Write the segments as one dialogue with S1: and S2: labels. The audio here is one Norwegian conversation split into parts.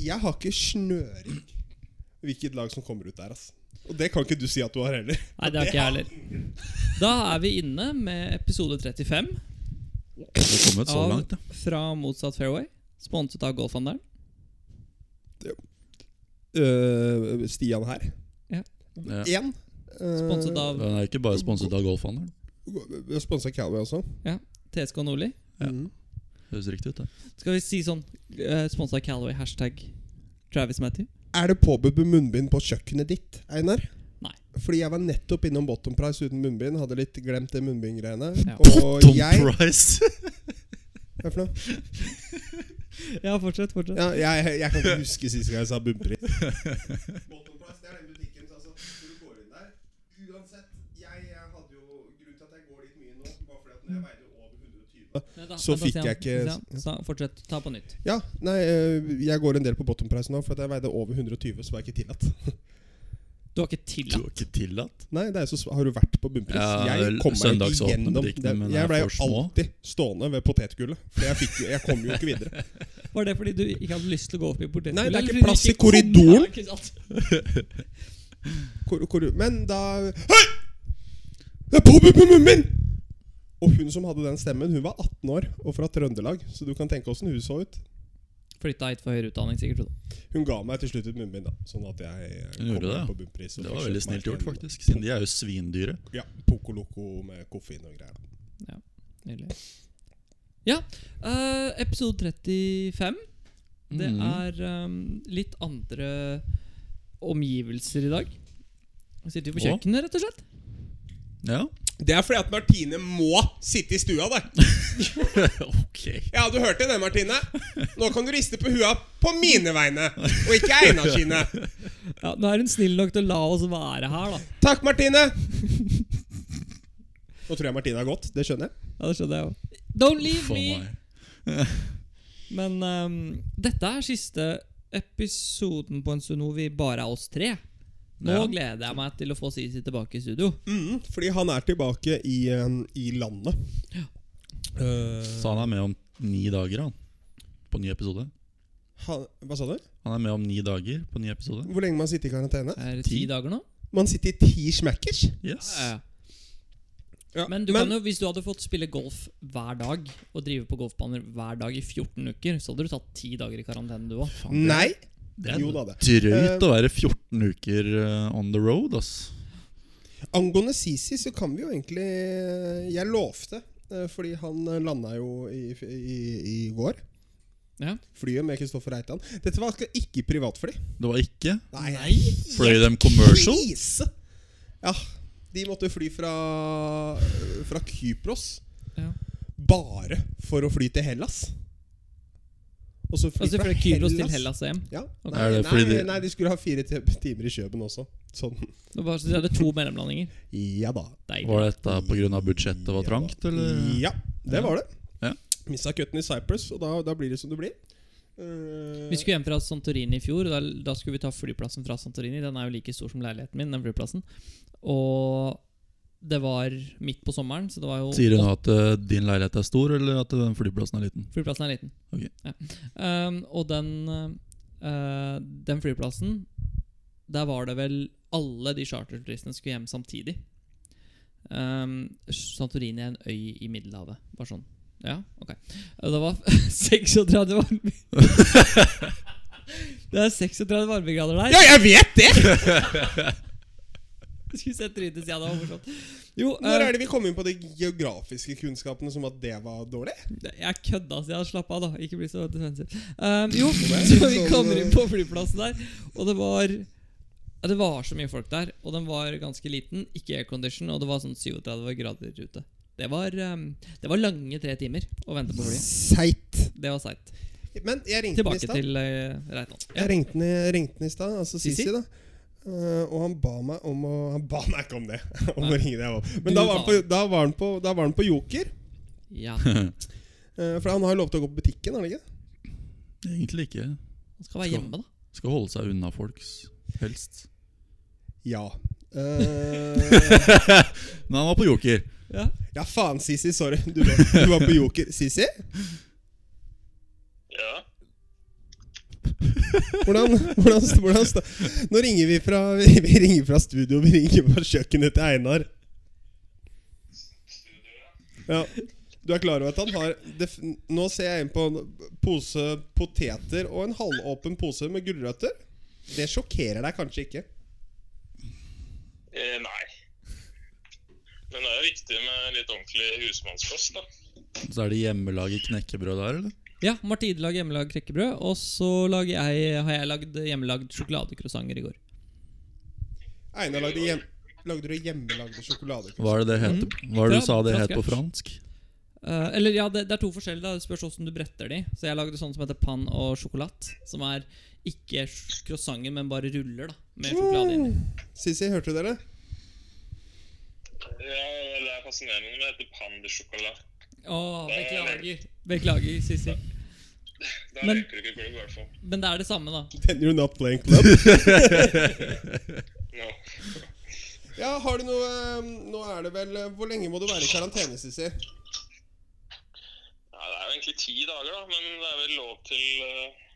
S1: Jeg har ikke snøring hvilket lag som kommer ut der. ass Og det kan ikke du si at du har heller.
S2: Nei, det har ikke jeg heller. Da er vi inne med episode 35
S3: Det har kommet så
S2: av
S3: langt, ja.
S2: Fra motsatt fairway. Sponset av Golfhandelen.
S1: Øh, Stian her. øh,
S3: ja.
S1: Én. Mm.
S2: Sponset av
S3: Den er ikke bare sponset av Golfhandelen.
S1: Sponsa Calway også.
S2: TSK Nordli.
S3: Ja.
S1: Mm.
S3: Høres riktig ut, det.
S2: Skal vi si sånn uh, Sponsa av Calaway, hashtag Travis Matthew.
S1: Er det påbudt med munnbind på kjøkkenet ditt, Einar?
S2: Nei.
S1: Fordi jeg var nettopp innom Bottom Price uten munnbind. Hadde litt glemt det munnbindgreiene.
S2: Ja.
S1: Og
S3: Tom
S1: jeg
S3: Price!
S1: Hva er det for noe?
S2: Ja, fortsett. fortsett
S1: Ja, jeg, jeg kan ikke huske sist gang jeg sa bunnpris. Bottom Price, det er den butikken altså, når du går inn der Uansett, jeg, jeg hadde jo Grunnen til at jeg går litt mye nå, var fordi at når jeg veide over 120 Så fikk jeg ikke-
S2: Fortsett. Ta på nytt.
S1: Ja, nei, øh, jeg går en del på Bottom Price nå, for at jeg veide over 120, så var jeg ikke tillatt.
S2: Du har ikke
S3: Du
S2: tillatt
S3: har ikke tillatt?
S1: Nei, det er så, s- Har du vært på bunnpris?
S3: Ja,
S1: jeg kom meg jo ikke
S3: søndagsåpne
S1: gjennom
S3: butikkene,
S1: det.
S3: men det er
S1: Jeg ble
S3: for
S1: jo
S3: små.
S1: alltid stående ved potetgullet. For jeg, fikk, jo- jeg kom jo ikke videre.
S2: Var det fordi du ikke hadde lyst til å gå opp i portrettet?
S1: Nei, det er ikke
S2: Eller fordi du
S1: plass i
S2: kom-
S1: korridoren.
S2: Ja, ikke sant?
S1: Hvor, hvor, men da Hei! Det er påbudt med munnbind! Og hun som hadde den stemmen, hun var 18 år og fra Trøndelag. Så du kan tenke åssen hun så ut.
S2: Flytta hit for høyere utdanning, sikkert. Frode.
S1: Hun ga meg til slutt et munnbind, da. Sånn at jeg eh,
S3: Hun
S1: kom
S3: gjorde
S1: meg
S3: det, ja.
S1: på bunnpris. og
S3: Det
S1: fikk
S3: var
S1: kjøpt
S3: veldig
S1: meg
S3: snilt gjort,
S1: en-
S3: faktisk. Siden de er jo svindyre.
S1: Ja, Poco Loco med koffein og greier.
S2: Nydelig. Ja, eh, episode 35. Det
S3: Mm.
S2: er eh, litt andre omgivelser i dag. Vi sitter jo på
S3: Å.
S2: kjøkkenet, rett og slett.
S3: Ja.
S1: Det er fordi at Martine må sitte i stua, det.
S3: ok.
S1: Ja, du hørte det, Martine. Nå kan du riste på hua på mine vegne, og ikke Einar sine.
S2: Ja, Nå er hun snill nok til å la oss være her, da.
S1: Takk, Martine. Nå tror jeg Martine har gått. Det skjønner jeg.
S2: Ja, Det skjønner jeg jo. Don't leave
S3: For
S2: me!
S3: meg.
S2: Men ehm, dette er siste episoden på en stund hvor vi bare er oss tre. Nå
S3: Ja.
S2: gleder jeg meg til å få Sisi tilbake i studio.
S1: Mm, fordi han er tilbake i, eh, i landet. Eh,
S3: Så han er med om ni dager, han. På ny episode.
S1: han, hva sa du?
S3: Han er med om ni dager på ny episode.
S1: Hvor lenge man sitter i karantene?
S2: Er det ti
S3: Ti?
S2: dager nå?
S1: Man sitter i ti smackers.
S3: Yes.
S1: Ja,
S2: Men, du Kan jo, hvis du hadde fått spille golf hver dag og drive på golfbaner hver dag i 14 uker, så hadde du tatt ti dager i karantene, du òg.
S3: Faen, det-
S1: Nei.
S3: Det er
S1: Jo da, Eh, det.
S3: drøyt å være 14 uker eh, on the road, ass.
S1: Angående Sisi, så kan vi jo egentlig Jeg lovte, eh, fordi han landa jo i, i, i går.
S2: Ja.
S1: Flyet med Kristoffer Reitan. Dette var altså ikke privatfly.
S3: Det var ikke
S1: Nei,
S3: Fløy dem commercial?
S1: Krise! Ja. De måtte fly fra, fra Kypros
S2: Ja.
S1: bare for å fly til Hellas. Og så fly
S2: Altså
S1: fra
S2: fra Kyros til Hellas og hjem.
S1: Ja.
S2: Ok.
S1: Nei,
S3: Er det
S1: nei,
S3: fordi de-
S1: nei, de skulle ha fire ti- timer i Kjøben også. Sånn.
S2: Det var, så de hadde to mellomlandinger.
S1: Ja da.
S2: Deilig.
S3: Var dette pga. budsjettet var
S1: Ja
S3: trangt,
S1: da.
S2: eh,
S3: eller?
S1: Ja, det
S3: Ja.
S1: var det.
S3: Ja.
S1: Missa cutten i Cyprus, og da, da blir det som det blir. Eh,
S2: Vi skulle hjem fra Santorini i fjor. og Da, da skulle vi ta flyplassen fra Santorini. Den er jo like stor som leiligheten min. den flyplassen Og det var midt på sommeren, så det var jo
S3: Sier hun at eh, din leilighet er stor, eller at den flyplassen er liten?
S2: Flyplassen er liten.
S3: Ok.
S2: Ja. Ehm, og den, eh, den flyplassen Der var det vel alle de charterturistene skulle hjem samtidig. Ehm, Santorini er en øy i Middelhavet. Bare sånn. Ja, ok. Og Det var 36 varme Det er 36 varmegrader der.
S1: Ja, jeg vet det!
S2: Jeg Skulle sett trynet sitt, ja, det var morsomt. Jo,
S1: Når
S2: eh,
S1: er det vi kom inn på de geografiske kunnskapene som at det var dårlig?
S2: Jeg kødda, så jeg slapp av, da. Ikke bli så defensiv. Um, jo,
S1: er
S2: så vi
S1: litt sånn,
S2: kommer inn
S1: eh,
S2: på flyplassen der, og det var ja, Det var så mye folk der, og den var ganske liten. Ikke aircondition, og det var sånn 37 grader ute. Det var, um, det var lange tre timer å vente på flyet.
S1: Seigt.
S2: Det var seigt.
S1: Men jeg ringte den i
S2: Tilbake
S1: stad.
S2: til eh, Reitan. Ja.
S1: Jeg ringte den i- ringte den i stad, altså
S2: Sisi?
S1: Sisi, da. Eh, og han ba meg om å Han ba meg ikke om det. om å
S2: Nei.
S1: ringe deg opp. Men
S2: Du
S1: da var, han
S2: ba.
S1: på, da, var han på, da var han på Joker.
S2: ja.
S1: eh, for han har jo lov til å gå på butikken, har han ikke?
S3: Egentlig ikke.
S2: Han skal være hjemme, da.
S3: Skal holde seg unna folks, helst.
S1: Ja. Eh,
S3: Men han var på Joker.
S2: Ja.
S1: ja, faen, Sisi. Sorry. Du var, du var på Joker. Sisi?
S4: Ja.
S1: Hvordan, hvordan, hvordan sta- Nå ringer vi fra, vi ringer fra studio, vi ringer fra kjøkkenet til Einar. Ja. Du er klar over at han har def, Nå ser jeg inn på en pose poteter og en halvåpen pose med gulrøtter. Det sjokkerer deg kanskje ikke.
S4: Eh, nei. Men det er jo viktig med litt ordentlig husmannskost, da.
S3: Så er det hjemmelaget knekkebrød der, eller?
S2: Ja, Martide lager hjemmelagd knekkebrød, og så lager jeg, har jeg lagd hjemmelagd sjokoladekrosanger i går.
S1: Einar lagde, hjem, lagde du hjemmelagde sjokoladekroker.
S3: Hva er
S2: Mm.
S3: det det heter? Hva er det du sa det het på fransk?
S2: Eh, eller ja, det, det er to forskjellige. da Det spørs hvordan du bretter de. Så jeg lagde sånn som heter pan og sjokolat. Som er ikke sj- croissanter, men bare ruller da med sjokolade inni.
S1: Sissy, hørte du dere?
S4: Ja, det er fascinerende når det heter pandesjokolade.
S2: Å, beklager. Beklager, Sissy.
S4: Da
S2: Men-
S4: røyker du ikke klubb, i hvert fall.
S2: Men det er det samme, da.
S1: Then you're not playing club.
S4: Ja.
S1: Ja, har du noe eh, Nå er det vel eh, Hvor lenge må du være i karantene, Sissy?
S4: ja, det er jo egentlig ti dager, da, men det er vel lov til eh,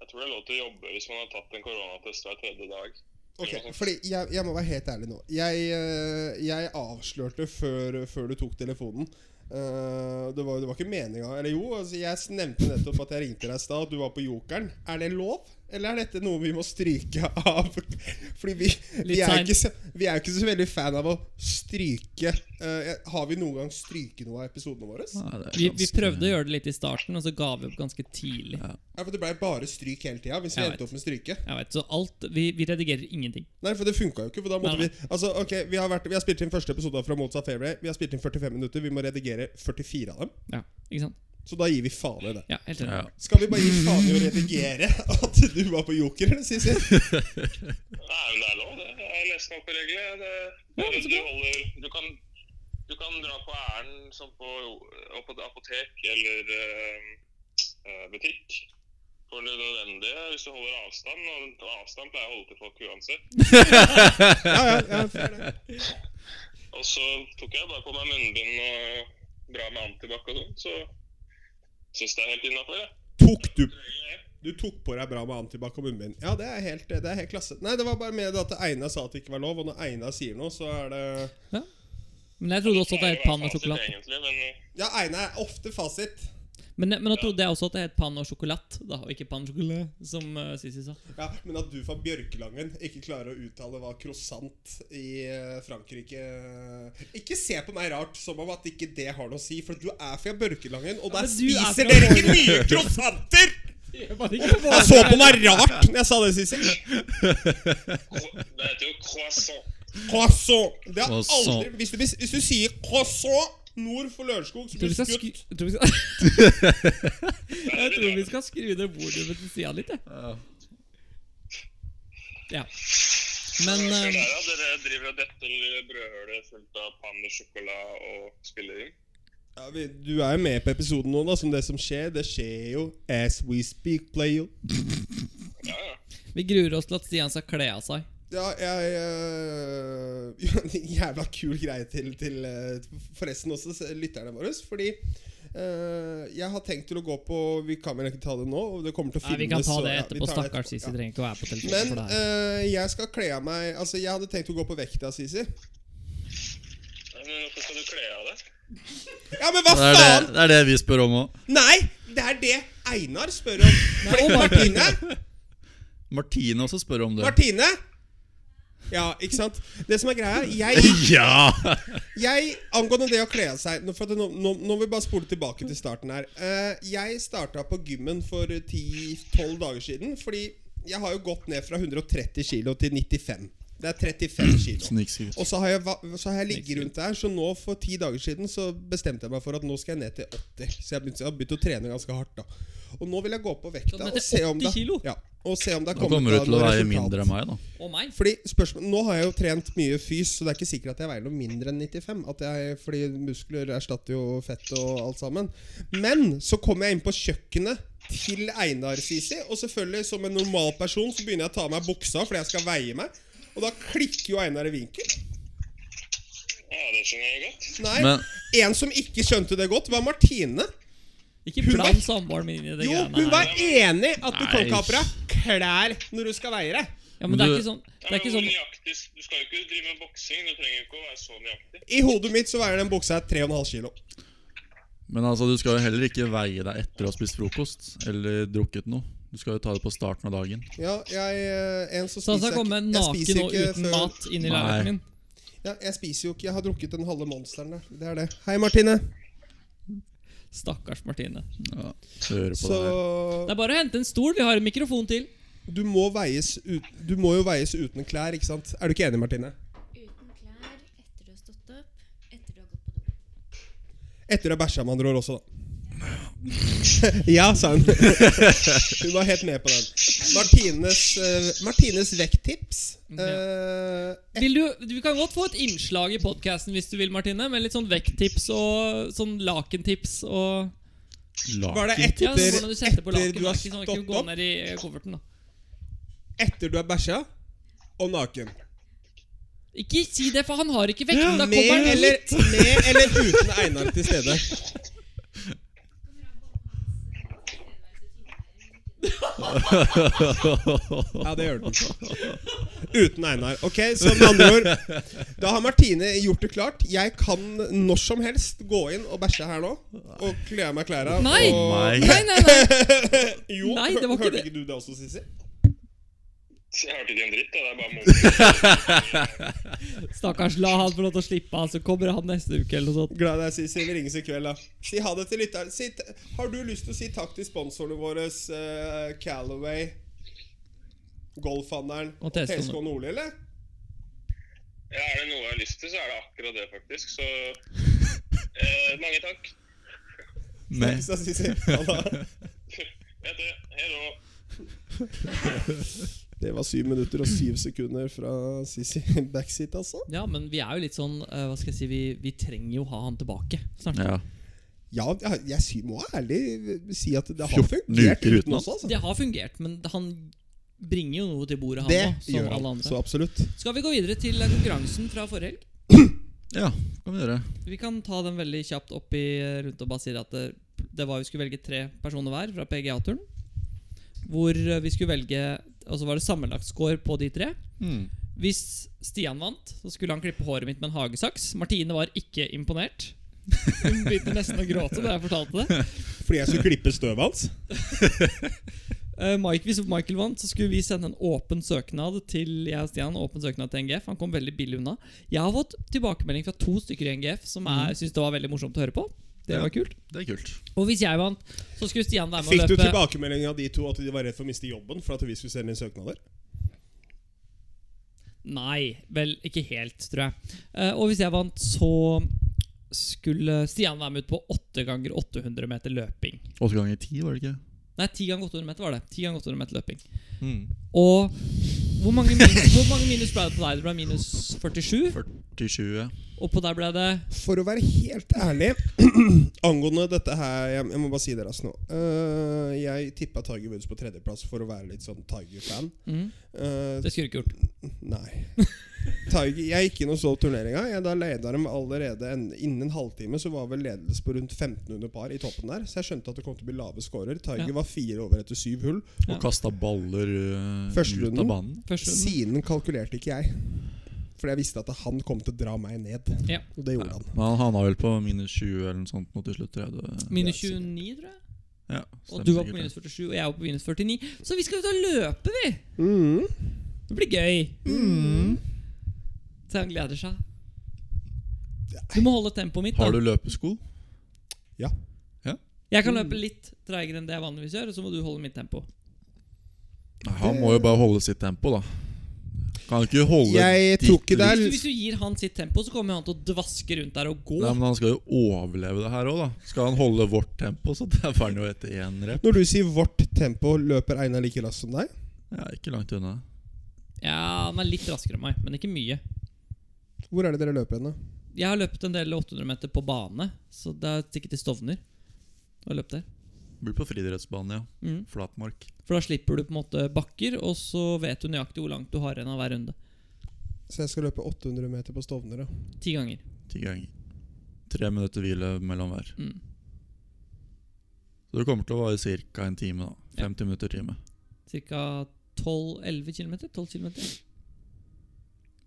S4: Jeg tror det er lov til å jobbe hvis man har tatt en koronatest hver tredje dag.
S1: Ok, fordi jeg, jeg må være helt ærlig nå. Jeg, eh, jeg avslørte før, før du tok telefonen. Eh, det, var, det var ikke meninga. Eller jo, altså, jeg nevnte nettopp at jeg ringte deg i stad. Du var på Jokeren. Er det lov? Eller er dette noe vi må stryke av? Fordi vi, vi, er,
S2: Litt
S1: jo
S2: sein.
S1: ikke så, vi er jo ikke så veldig fan av å stryke. Eh, har vi noen gang stryket noe av episodene våre? Ja,
S3: Nei, det er
S2: Vi, vi
S3: ganske-
S2: prøvde å gjøre det litt i starten, og så ga vi opp ganske tidlig.
S1: for det blei bare stryk hele tida hvis vi
S2: Jeg vet.
S1: endte opp med stryke.
S2: Jeg vet, Så alt Vi, vi redigerer ingenting.
S1: Nei, for det funka jo ikke. For da måtte
S2: Nei, nei.
S1: vi Altså, ok, vi har, vært, vi har spilt inn første episode fra Mozart Fairway. Vi har spilt inn 45 minutter. Vi må redigere 44 av dem.
S2: Ja, ikke sant?
S1: Så da gir vi faen i det.
S2: Ja, helt enig.
S3: Ja.
S1: Skal vi bare gi faen i å redigere at du var på Joker, eller, Sissy?
S4: Nei, men det er lov, det. Jeg har lest meg opp på reglene. Det,
S2: Ja, men så
S4: du,
S2: bra.
S4: holder, du, kan, du kan dra på ærend som på, opp på et apotek eller eh, eh, butikk for det nødvendige hvis du holder avstand. Og avstand pleier jeg å holde til folk uansett.
S1: Ja, ja, ja, fair det.
S4: Og så tok jeg bare på meg munnbind og bra med antibac og sånn, så syns jeg er helt innafor, jeg.
S1: Tok du
S4: Reglene er-
S1: Du tok på deg bra med antibac og munnbind. Ja, det er, helt, det er helt klasse. Nei, det var bare med det at Einar sa at det ikke var lov, og når Einar sier noe, så er det
S2: Men jeg trodde også at det
S4: pleier å
S2: het
S4: være
S2: pan og
S4: fasit,
S2: sjokolat.
S4: Egentlig, men eh,
S1: Ja, Einar er ofte fasit.
S2: Men, men jeg trodde jeg også at det het pan og sjokolat, da, og ikke pan og sjokolat, som eh, Sissy sa.
S1: Ja, Men at du fra Bjørkelangen ikke klarer å uttale hva croissant i eh, Frankrike eh, Ikke se på meg rart som om at ikke det har noe å si, for du er fra Bjørkelangen, og der
S2: Ja, men du er
S1: spiser
S2: fra
S1: dere ikke mye croissanter!
S2: Jeg
S1: Han så på meg rart når jeg sa det, Sissy.
S4: cro- eh, det heter jo croissant.
S1: Croissant. Det har
S3: Croissant.
S1: aldri hvis du, hvis du sier croissant nord for Lørenskog, så
S2: tror
S1: blir
S2: vi
S1: du
S2: skal skru,
S1: skutt.
S2: jeg tror vi skal,
S4: Det er
S2: jeg
S4: det
S2: tror vi
S4: det.
S2: skal skru ned volumet til Stian litt, jeg. Ja. Men
S4: Men,
S2: eh,
S4: ja, dere driver og detter brødhølet fullt av panne, sjokolade og spiller inn.
S1: Ja, vi, du er jo med på episoden nå, da, som det som skjer. Det skjer jo as we speak, playo.
S4: Ja, ja.
S2: vi gruer oss til at Stian skal kle av seg.
S1: Ja, jeg øh, Jævla kul greie til, til øh, forresten også s- lytterne våre. Fordi øh, jeg har tenkt til å gå på Vi kan vel ikke ta det nå? og Det kommer til å
S2: Nei,
S1: filmes.
S2: Vi kan ta
S1: så-
S2: det
S1: ja, vi
S2: etterpå.
S1: tar det
S2: Stakkars
S1: etterpå, ja.
S2: Sissy trenger ikke å være på telefonen
S1: Men
S2: for det her.
S1: øh, jeg skal kle av meg Altså, jeg hadde tenkt å gå på vekta, Sisi.
S4: Men hvorfor skal du kle av deg?
S1: Ja, men hva
S3: Det er
S1: faen?!
S3: det, det er det vi spør om òg.
S1: Nei! Det er det Einar spør om. Fordi
S2: og Martine.
S1: Martine
S3: Martine også spør om det.
S1: Martine! Ja, ikke sant? Det som er greia, jeg
S3: Ja!
S1: Jeg, Angående det å kle av seg nå- for at nå, nå, nå vil vi bare spole tilbake til starten her. Eh, jeg starta på gymmen for 10-12 dager siden. Fordi jeg har jo gått ned fra 130 kilo til 95. Det er 35 kilo.
S3: Snikskritt.
S1: Og så har jeg, va- så har jeg ligget rundt der, så nå for ti dager siden så bestemte jeg meg for at nå skal jeg ned til 80. Så jeg har begynt, jeg har begynt å trene ganske hardt, da. Og nå vil jeg gå opp på
S2: Så
S1: vekta
S2: ned
S1: og
S2: til
S1: se om det,
S2: 80 kilo?
S1: ja, og se om det er
S3: Da
S1: kommet
S3: kommer du
S1: da
S3: til å
S1: noe
S3: veie
S1: resultat.
S3: mindre enn meg, da.
S1: eh,
S2: Og meg.
S1: Fordi spørsmål, Nå har jeg jo trent mye fys, så det er ikke sikkert at jeg veier noe mindre enn 95. At jeg, fordi muskler erstatter jo fett og alt sammen. Men så kommer jeg inn på kjøkkenet til Einar Sisi, og selvfølgelig som en normal person så begynner jeg å ta av meg buksa fordi jeg skal veie meg. Og da klikker jo Einar i vinkel.
S4: Ja, det skjønner jeg godt.
S1: Nei,
S3: Men-
S1: En som ikke skjønte det godt, var Martine.
S2: Ikke
S1: Hun
S2: bland
S1: var-
S2: samboeren min inn i det
S1: Jo,
S2: greiene
S1: hun var
S2: her.
S1: enig at du kan
S3: Nei.
S1: kapre. klær når du skal veie det.
S2: Ja, men det er
S3: Du-
S2: ikke sånn
S4: Ja,
S2: Det er
S4: men
S2: ikke
S4: hvor
S2: sånn
S4: nøyaktig, Du skal jo ikke drive med boksing. Du trenger jo ikke å være så nøyaktig.
S1: I hodet mitt så veier den buksa 3,5 kilo.
S3: Men altså, du skal jo heller ikke veie deg etter å ha spist frokost eller drukket noe. Du skal jo ta det på starten av dagen.
S1: Ja, jeg eh, en som
S2: Så han
S1: spiser
S2: skal komme
S1: ikke- jeg spiser
S2: naken og
S1: ikke
S2: uten
S1: før-
S2: mat inn i
S3: Nei.
S2: leiligheten min.
S1: Ja, jeg spiser jo ikke. Jeg har drukket den halve monsteren der. Det er det. Hei, Martine.
S2: Stakkars Martine.
S3: Ja, høre på
S1: Så
S3: det her.
S2: Det er bare å hente en stol. Vi har en mikrofon til.
S1: du må, veies ut, du må jo veies uten klær, ikke sant? Er du ikke enig, Martine?
S5: Uten klær, etter du har stått opp, etter du har gått på do.
S1: Etter å ha bæsja med andre ord også, da. ja, sa hun. hun var helt med på den. Martines, eh, Martines vekttips.
S2: Mm,
S1: Eh, et-
S2: Vil du, du kan godt få et innslag i podkasten hvis du vil, Martine, med litt sånn vekttips og sånn lakentips og
S1: var det
S3: Laken.
S1: etter,
S2: Ja, sånn hvordan du setter på
S1: etter
S2: laken.
S1: du har
S2: ikke sånn, ikke
S1: stått
S2: gå
S1: opp?
S2: ned i kofferten, da.
S1: Etter du har bæsja? Og naken.
S2: Ikke si det, for han har ikke vekt. Da
S1: Med
S2: kommer han
S1: eller,
S2: hit.
S1: med eller uten Einar til stede. Ja, det gjør den. Uten Einar. Ok, så med andre ord Da har Martine gjort det klart. Jeg kan når som helst gå inn og bæsje her nå. Og kle av meg klærne.
S2: Nei!
S1: Og...
S3: Nei.
S2: Nei, nei, nei.
S1: Jo,
S2: Nei, det var ikke
S1: hørte
S2: det.
S1: ikke du det også, Sissy?
S4: Jeg hørte ikke en dritt. da, Det er bare moro.
S2: Stakkars, la han få lov til å slippe, altså. Kommer han neste uke eller noe sånt?
S1: Glad i deg, Sissy. Vi ringes i kveld, da. Si ha det til lytteren. Si, t- har du lyst til å si takk til sponsorene våre, uh, Calaway, Golfhandelen
S2: Og
S1: og
S2: TSK
S1: TSK Nordli, eller?
S4: Ja, er det noe jeg har lyst til, så er det akkurat det, faktisk. Så eh, mange takk.
S3: Nei.
S1: Sa Sissy. Ha det.
S4: Vet du, hei da.
S1: Det var syv minutter og syv sekunder fra Sissy backseat, altså.
S2: Ja, men vi er jo litt sånn eh, Hva skal jeg si Vi, vi trenger jo ha han tilbake snart.
S3: Ja.
S1: Ja, jeg, jeg sy- må ærlig si at det har
S3: 14
S1: fungert
S3: uker
S1: uten
S3: uten
S1: oss, altså.
S2: Det har fungert, men han bringer jo noe til bordet, han
S1: Det
S2: òg. Som
S1: gjør
S2: alle
S1: han, så
S2: andre.
S1: absolutt.
S2: Skal vi gå videre til eh, konkurransen fra forrige helg?
S3: ja, kan vi gjøre.
S2: Vi kan ta den veldig kjapt opp i eh, rundt og bare si at det, det var vi skulle velge tre personer hver fra PGA-turen. Hvor eh, vi skulle velge Og så var det sammenlagt score på de tre.
S3: Hmm.
S2: Hvis Stian vant, så skulle han klippe håret mitt med en hagesaks. Martine var ikke imponert. Hun begynte nesten å gråte da jeg fortalte det.
S1: Fordi jeg skulle klippe støvet hans?
S2: Eh, Mike, hvis Michael vant, så skulle vi sende en åpen søknad til jeg og Stian. Åpen søknad til NGF Han kom veldig billig unna. Jeg har fått tilbakemelding fra to stykker i NGF som
S1: Mhm.
S2: er- syntes det var veldig morsomt å høre på. Det
S3: Ja.
S2: var kult.
S3: Det er kult.
S2: Og hvis jeg vant, så skulle Stian være med
S1: Fikk
S2: og
S1: du
S2: løpe
S1: tilbakemelding av de to at de var redd for å miste jobben for at vi skulle sende inn søknader?
S2: Nei, vel, ikke helt, tror jeg. Eh, og hvis jeg vant, så skulle Stian være med ut på 8 ganger 800 meter løping.
S3: Åtte ganger ti, var det ikke?
S2: Nei, 10 ganger 800 meter var det. 10 ganger 800 meter løping.
S3: Hmm.
S2: Og hvor mange minus, hvor mange minus ble det på deg? Det ble minus 47.
S3: 47, ja.
S2: Og på deg ble det
S1: For å være helt ærlig angående dette her Jeg, jeg må bare si det raskt nå. Eh, jeg tippa Tiger Woods på tredjeplass for å være litt sånn Tiger-fan.
S2: mm,
S1: Eh,
S2: Det skulle du ikke gjort.
S1: Nei. Tiger, jeg gikk inn og så turneringa. Jeg, da leda dem allerede en, innen en halvtime. Så var vel ledelse på rundt 1500 par i toppen der. Så jeg skjønte at det kom til å bli lave scorer. Tiger
S2: Ja.
S1: var fire over etter syv hull.
S2: Ja.
S3: Og kasta baller eh,
S1: Første
S3: ut
S1: runden.
S3: av banen.
S2: Første runden.
S1: Siden kalkulerte ikke jeg. For jeg visste at han kom til å dra meg ned.
S2: Ja.
S1: Og det gjorde
S3: Ja.
S1: han.
S3: Men han havna vel på minus 20 eller noe sånt nå til slutt. tror jeg det-
S2: Minus
S1: Ja, sikkert.
S2: 29, tror jeg.
S3: Ja,
S2: Og
S3: stemmer
S2: du var på
S3: sikkert det.
S2: minus 47, og jeg var på minus 49. Så vi skal ut og løpe, vi!
S1: Mhm.
S2: Det blir gøy.
S3: Mm.
S2: Så han gleder seg. Du må holde tempoet mitt. da
S3: Har du løpesko?
S1: Ja.
S2: Jeg kan løpe litt treigere enn det jeg vanligvis gjør, og så må du holde mitt tempo.
S3: Nei, han må jo bare holde sitt tempo, da. Kan ikke holde
S1: Jeg
S3: ditt
S1: tror ikke det
S3: likt.
S1: er
S2: Hvis du, hvis du gir han sitt tempo, så kommer han til å dvaske rundt der og gå.
S3: Nei, men Han skal jo overleve det her òg, da. Skal han holde vårt tempo, så derfor er han jo etter én rep.
S1: Når du sier vårt tempo, løper Einar like raskt som deg?
S3: Ja, ikke langt unna.
S2: Ja, Han er litt raskere enn meg, men ikke mye.
S1: Hvor er det dere løper hen, da?
S2: Jeg har løpt en del 800 meter på bane, så det er sikkert til Stovner. Og løpt der
S3: Blir på friidrettsbanen, ja.
S2: mm.
S3: Flatmark.
S2: For da slipper du på en måte bakker, og så vet du nøyaktig hvor langt du har igjen av hver runde.
S1: Så jeg skal løpe 800 meter på Stovner, ja.
S2: Ti ganger.
S3: Ti ganger. Tre minutter hvile mellom hver.
S2: Mm.
S3: Så det kommer til å vare ca. en time, da. 50 minutter time.
S2: Cirka 12-11 km. 12 kilometer.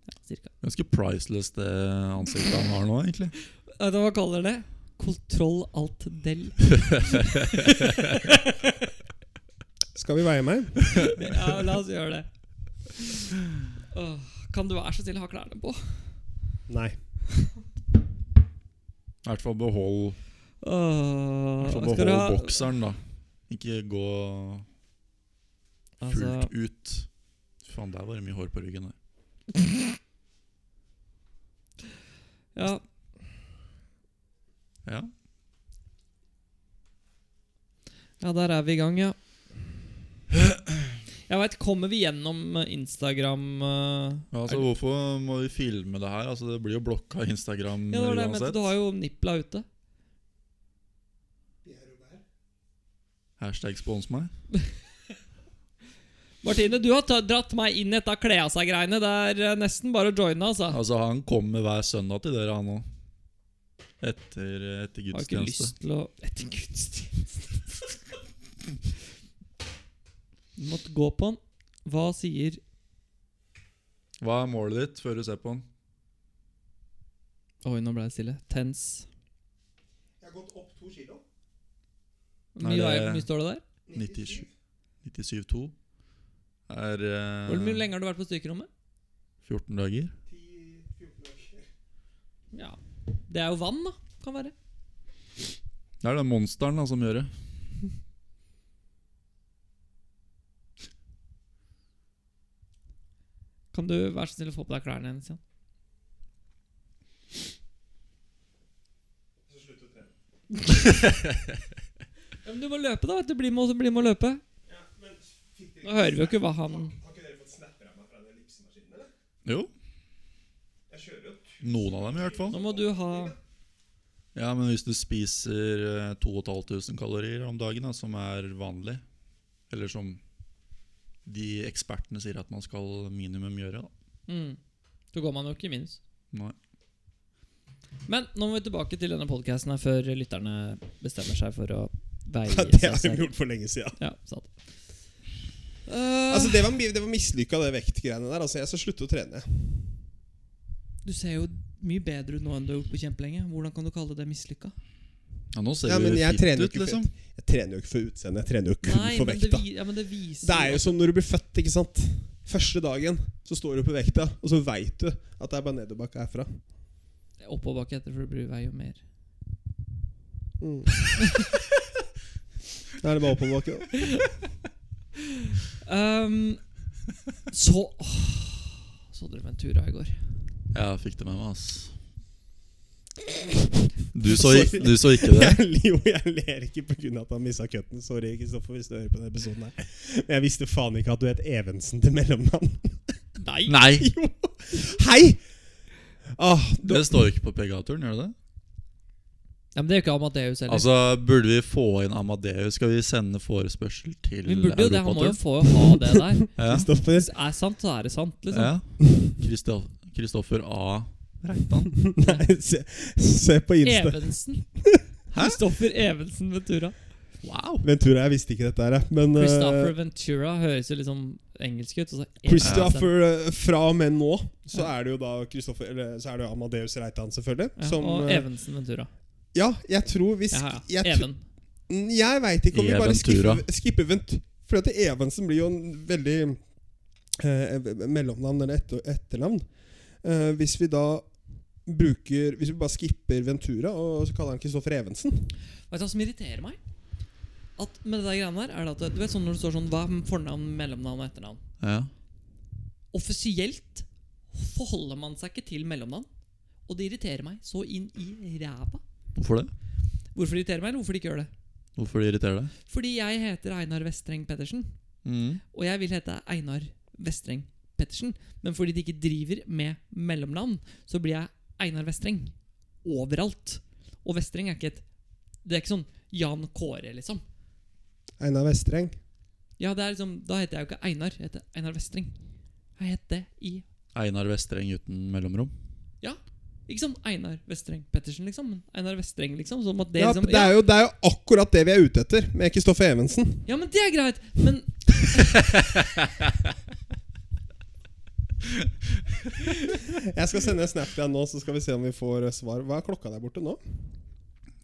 S2: Ja, cirka.
S3: Ganske priceless det ansiktet han har nå, egentlig.
S2: Vet du hva man kaller det? Kontroll alt del.
S1: Skal vi veie meg?
S2: Ja, la oss gjøre det. Åh, kan du være så snill å ha klærne på?
S1: Nei.
S3: I hvert fall behold, i
S2: Åh,
S3: hvert fall
S2: skal du ha-
S3: behold bokseren, da. Ikke gå
S2: Altså,
S3: fullt ut. Faen, der var det mye hår på ryggen. Der.
S2: ja,
S3: Ja.
S2: Ja, der er vi i gang, ja. Jeg veit, kommer vi gjennom eh, Instagram eh,
S3: Ja, altså Hvorfor må vi filme det her? Altså Det blir jo blokka Instagram
S2: Ja, det var det jeg mente.
S3: uansett.
S2: Du har jo Nipla ute.
S3: Hashtag spons meg.
S2: Martine, du har ta- dratt meg inn i dette kle av seg-greiene. Det er eh, nesten bare å joine, altså.
S3: Altså Han kommer hver søndag til dere, han òg. Etter, etter
S2: Jeg har ikke
S3: gudstjeneste.
S2: lyst til å Etter gudstjeneste Du måtte gå på den. Hva sier
S3: Hva er målet ditt før du ser på han?
S2: Oi, nå ble det stille. Tens.
S1: Jeg har gått opp to kilo.
S2: Hvor
S3: Nei,
S2: mye, veier-
S3: det-
S2: hvor mye står det der?
S3: 97. 97,2 er eh,
S2: Hvor mye lenge har du vært på styrkerommet?
S3: 14 dager.
S1: 10, 14 dager.
S2: Ja. Det er jo vann, da. Kan være.
S3: Det er den monsteren da, som gjør det.
S2: Kan du være så snill å få på deg klærne hennes igjen?
S1: Så slutter jeg å trene.
S2: Ja, men du må løpe, da. vet du. Bli med, bli med å løpe.
S1: Ja, men fikk dere
S2: Nå hører vi jo ikke hva han
S1: Har ikke dere fått snapper av meg fra den ellipsemaskinen, eller?
S3: Jo,
S1: Jeg kjører jo
S3: noen av dem i hvert fall.
S2: Nå må du ha
S3: Ja, men hvis du spiser eh, 2500 kalorier om dagen, da, som er vanlig, eller som de ekspertene sier at man skal minimum gjøre, da.
S2: mm. Så går man jo ikke i minus.
S3: Nei.
S2: Men nå må vi tilbake til denne podkasten før lytterne bestemmer seg for å veie
S1: Ja,
S2: seg selv.
S1: gjort for lenge siden.
S2: Ja, sant. Eh,
S1: Altså, det var, det var mislykka, det vektgreiene der. Altså, jeg skal slutte å trene.
S2: du ser jo mye bedre ut nå enn du har gjort på kjempelenge. Hvordan kan du kalle det mislykka?
S3: Ja, nå ser
S1: Ja,
S3: du
S1: men jeg
S3: fit
S1: trener
S3: ut,
S1: ikke
S3: liksom.
S1: fett. Jeg trener jo ikke for utseendet, jeg trener jo kun
S2: Nei,
S1: for
S2: men det,
S1: vekta.
S2: vi, ja, men det viser
S1: Det er jo som når du blir født, ikke sant. Første dagen så står du på vekta, og så veit du at det er bare nedoverbakke herfra.
S2: oppoverbakke etter, for det blir vei jo mer.
S1: Mm. Da er det bare oppoverbakke. da.
S2: Ehm, så åh, Så dere Ventura i går?
S3: Ja, fikk det med meg, ass. Du så, i- du så ikke det?
S1: Jeg, ler jo, jeg ler ikke pga. at han missa cutten. Sorry, Kristoffer, hvis du hører på denne episoden her. Men jeg visste faen ikke at du het Evensen til mellomnavn.
S2: Nei!
S3: Nei!
S1: Jo! Hei! Ah, du,
S3: Det står ikke på PGA-turen, gjør det det?
S2: Ja, men Det er jo ikke Amadeus heller.
S3: Altså, burde vi få inn Amadeus? Skal vi sende forespørsel til
S2: Vi burde jo det, Han må jo
S3: Europaturen?
S2: få ha det der.
S3: Ja.
S1: Kristoffer.
S2: Hvis det er sant, så er det sant. liksom
S3: Ja. Kristoff- Kristoffer A. Reitan.
S1: Nei, se, se på Insta.
S2: Evensen. Kristoffer Evensen Ventura.
S3: Wow!
S1: Ventura, jeg visste ikke dette her, jeg. men eh,
S2: Christopher Ventura høres jo liksom engelsk ut. Og så Evensen.
S1: Christopher eh, Fra og med nå så er det jo da Christopher, eller, så er det jo Amadeus Reitan, selvfølgelig.
S2: Ja,
S1: som,
S2: og
S1: eh,
S2: Evensen Ventura.
S1: ja, jeg tror hvis
S2: Ja, ja.
S1: Jeg, tr-
S2: Even.
S1: Mm, jeg veit ikke om vi bare
S3: Eventura.
S1: skipper, skipper Vent. For at Evensen blir jo en veldig eh, v- mellomnavn eller etter, etternavn. Eh, hvis vi da bruker Hvis vi bare skipper Ventura og så kaller han Kristoffer Evensen
S2: Vet du hva som irriterer meg? At med det der greiene der Er det at Du vet sånn når det står sånn Hva er fornavn, mellomnavn og etternavn?
S3: Ja.
S2: Offisielt forholder man seg ikke til mellomnavn. Og det irriterer meg så inn i ræva.
S3: Hvorfor det?
S2: Hvorfor det irriterer meg, eller hvorfor de ikke gjør det?
S3: Hvorfor det Mm. irriterer deg?
S2: Fordi jeg heter Einar Vestreng Pettersen. Og jeg vil hete Einar Vestreng Pettersen. Men fordi de ikke driver med mellomnavn, så blir jeg Einar Vestreng overalt. Og Vestreng er ikke et Det er ikke sånn Jan Kåre, liksom.
S1: Einar Vestreng.
S2: Ja, det er liksom Da heter jeg jo ikke Einar. Jeg heter Einar Vestreng. Jeg het det i
S3: Einar Vestreng uten mellomrom.
S2: Ja, Ikke som Einar Vestreng Pettersen, liksom. Men Einar Vestreng, liksom. Som at det,
S1: Ja,
S2: liksom
S1: det, er jo, det er jo akkurat det vi er ute etter med Kristoffer Evensen.
S2: ja, men det er greit! Men
S1: Jeg skal sende en snap til deg nå, så skal vi se om vi får eh, svar. Hva er klokka der borte nå?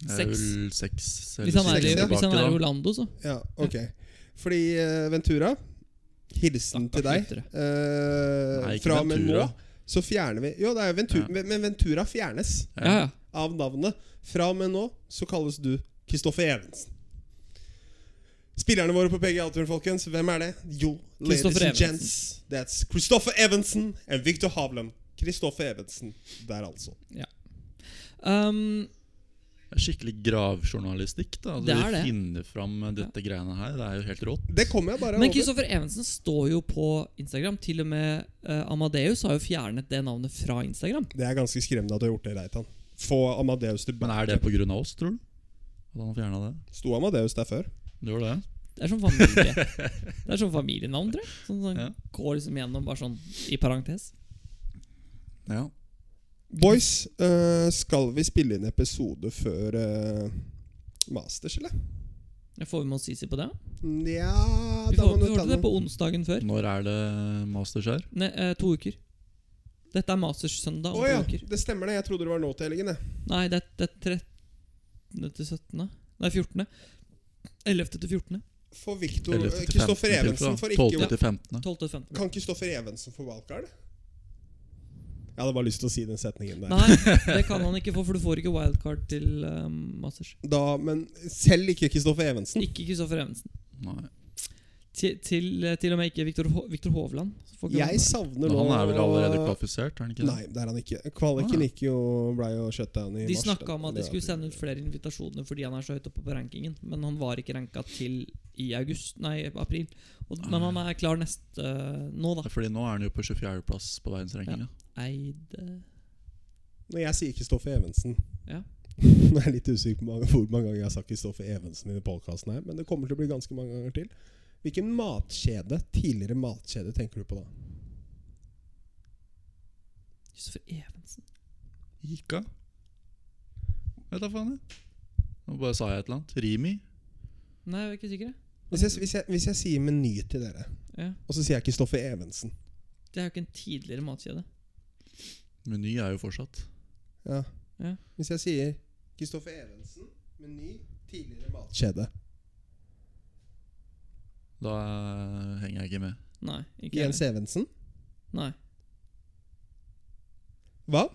S3: Det er
S2: Seks.
S3: Eh, vel seks eller
S2: hvis han er
S3: syv
S2: i,
S1: ja.
S2: hvis han er i
S3: tilbake, da.
S2: Orlando, så
S1: Ja, ok Fordi eh, Ventura Hilsen til
S2: Stakkars
S1: deg Eh,
S3: Nei, ikke
S1: Fra og med nå
S3: Ventura.
S1: Så fjerner vi Jo, det er jo Ventura
S3: Ja.
S1: men- Men Ventura fjernes
S2: Ja, ja.
S1: Av navnet Fra og med nå Så kalles du Kristoffer Evensen Spillerne våre på PGA Tour, folkens Hvem er det? Jo, ladies
S2: Christopher
S1: and gents That's Kristoffer Evensen And Victor Havland Kristoffer Evensen Der altså
S2: Um,
S3: Det er skikkelig gravjournalistikk. da altså,
S2: Det er
S3: De
S2: det.
S3: finner fram eh, dette greiene her. Det er jo helt rått.
S1: Det kommer jeg bare
S2: men
S1: over
S2: Kristoffer Evensen står jo på Instagram. Til og med eh, Amadeus har jo fjernet det navnet fra Instagram.
S1: Det er ganske skremmende at du har gjort det, Reitan Få Amadeus tilbake
S3: Men er det pga. oss, tror du? At han fjerna det?
S1: Sto Amadeus der før?
S3: Det var det.
S2: Det er sånn familie Det er sånn familienavn, tror jeg. Sånn, sånn,
S3: Ja.
S2: Går liksom gjennom bare sånn i parentes.
S3: Ja.
S1: Boys, eh, skal vi spille inn episode før eh, Masters, eller?
S2: Får vi med oss Sisi på det?
S1: Nja
S2: Vi
S1: da må
S2: får,
S1: du
S2: vi
S1: ta
S2: hørte det
S1: den.
S2: på onsdagen før.
S3: Når er det masters her?
S2: Ne, eh, to uker. Dette er Masters-søndag
S1: Å
S2: om
S1: ja,
S2: to uker.
S1: det stemmer det. Jeg trodde det var nå til helgen. jeg.
S2: Nei, det er, det er 13. til 17. Nei, 14. 11. til 14.
S1: For Victor
S3: 11.
S1: eh,
S3: til 15.
S1: Kristoffer
S3: til
S1: Evensen
S3: da.
S1: får
S3: 12.
S1: ikke
S3: til 15.
S2: 12. til 15.
S1: Kan Kristoffer Evensen få wildcard? Jeg hadde bare lyst til å si den setningen der.
S2: Nei, det kan han ikke få, for du får ikke wildcard til eh, Masters.
S1: Da, men selv ikke Kristoffer Evensen.
S2: Ikke Kristoffer Evensen.
S3: Nei.
S2: Til, til, eh, til og med ikke Viktor Ho- Viktor Hovland. Får ikke
S1: Jeg
S2: være med.
S1: savner
S3: Men
S1: nå
S3: han er vel allerede kvalifisert? er han ikke det?
S1: Nei, det er han ikke. Kvaliken
S3: Ah, ja.
S1: gikk jo, ble jo shutdown i
S2: de
S1: mars,
S2: snakka
S1: den.
S2: om at de
S1: Det
S2: skulle
S1: er-
S2: sende ut flere invitasjoner fordi han er så høyt oppe på rankingen, men han var ikke ranka til i august, nei, april. Og, men han
S1: Ah.
S2: er klar neste eh, nå, da.
S3: Ja, Fordi nå er han jo på 24.-plass på verdensrankinga.
S2: Eide
S1: Når jeg sier Kristoffer Evensen
S2: Ja.
S1: Nå er jeg litt usikker på mange- hvor mange ganger jeg har sagt Kristoffer Evensen i podkasten her, men det kommer til å bli ganske mange ganger til. Hvilken matkjede, tidligere matkjede tenker du på da?
S2: Kristoffer Evensen.
S3: Gikk av? Vet da faen, jeg. Nå bare sa jeg et eller annet. Rimi?
S2: Nei, jeg er ikke sikker. jeg.
S1: Hvis jeg, hvis jeg, hvis jeg sier Meny til dere,
S2: Ja.
S1: og så sier jeg Kristoffer Evensen
S2: Det er jo ikke en tidligere matkjede.
S3: Meny er jo fortsatt.
S1: ja.
S2: Ja.
S1: Hvis jeg sier Kristoffer Evensen, Meny, tidligere matkjede
S3: Da eh, henger jeg ikke med.
S2: Nei. ikke
S1: Jens
S2: heller.
S1: Evensen
S2: Nei.
S1: Hva?